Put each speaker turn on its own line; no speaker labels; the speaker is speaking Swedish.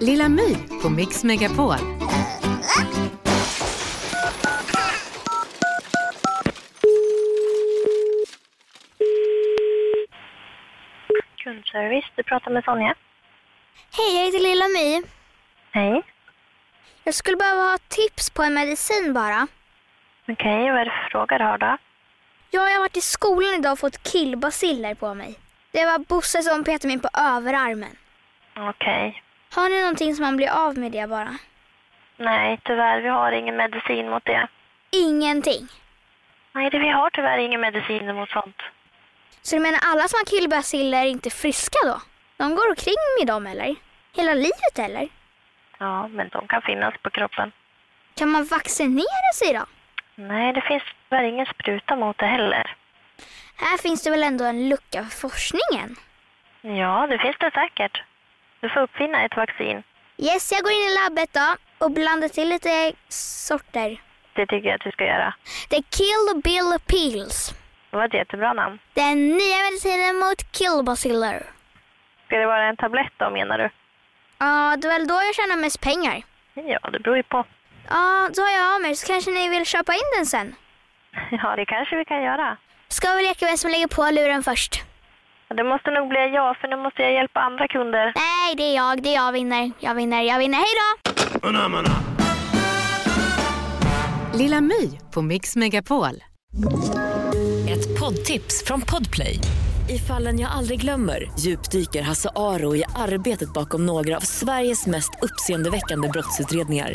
Lilla My på Mix Megapol.
Kundservice, du pratar med Sonja.
Hej, jag heter Lilla My.
Hej.
Jag skulle behöva ha tips på en medicin bara.
Okej, vad är det för fråga du har då?
Jag har varit i skolan idag och fått killbaciller på mig. Det var Bosse som petade mig på överarmen.
Okej.
Har ni någonting som man blir av med det bara?
Nej, tyvärr, vi har ingen medicin mot det.
Ingenting.
Nej, det, vi har tyvärr ingen medicin mot sånt.
Så du menar alla som har killbaciller är inte friska då? De går omkring med dem eller? Hela livet eller?
Ja, men de kan finnas på kroppen.
Kan man vaccinera sig då?
Nej, det finns tyvärr ingen spruta mot det heller.
Här finns det väl ändå en lucka för forskningen?
Ja, det finns det säkert. Du får uppfinna ett vaccin.
Yes, jag går in i labbet då och blandar till lite sorter.
Det tycker jag att du ska göra.
The Kill Bill Pills.
Det var ett jättebra namn.
Den nya medicinen mot killbaciller.
Ska det vara en tablett då, menar du?
Ja, det är väl då jag tjänar mest pengar.
Ja, det beror ju på.
Ja, då har jag av mig så kanske ni vill köpa in den sen.
Ja, det kanske vi kan göra.
Ska vi leka vem som lägger på luren först?
Men Det måste nog bli jag, för nu måste jag hjälpa andra kunder.
Nej, det är jag. Det är jag vinner. Jag vinner. Jag vinner. Hej då!
Lilla My på Mix Megapol.
Ett poddtips från Podplay. I fallen jag aldrig glömmer djupdyker Hasse Aro i arbetet bakom några av Sveriges mest uppseendeväckande brottsutredningar.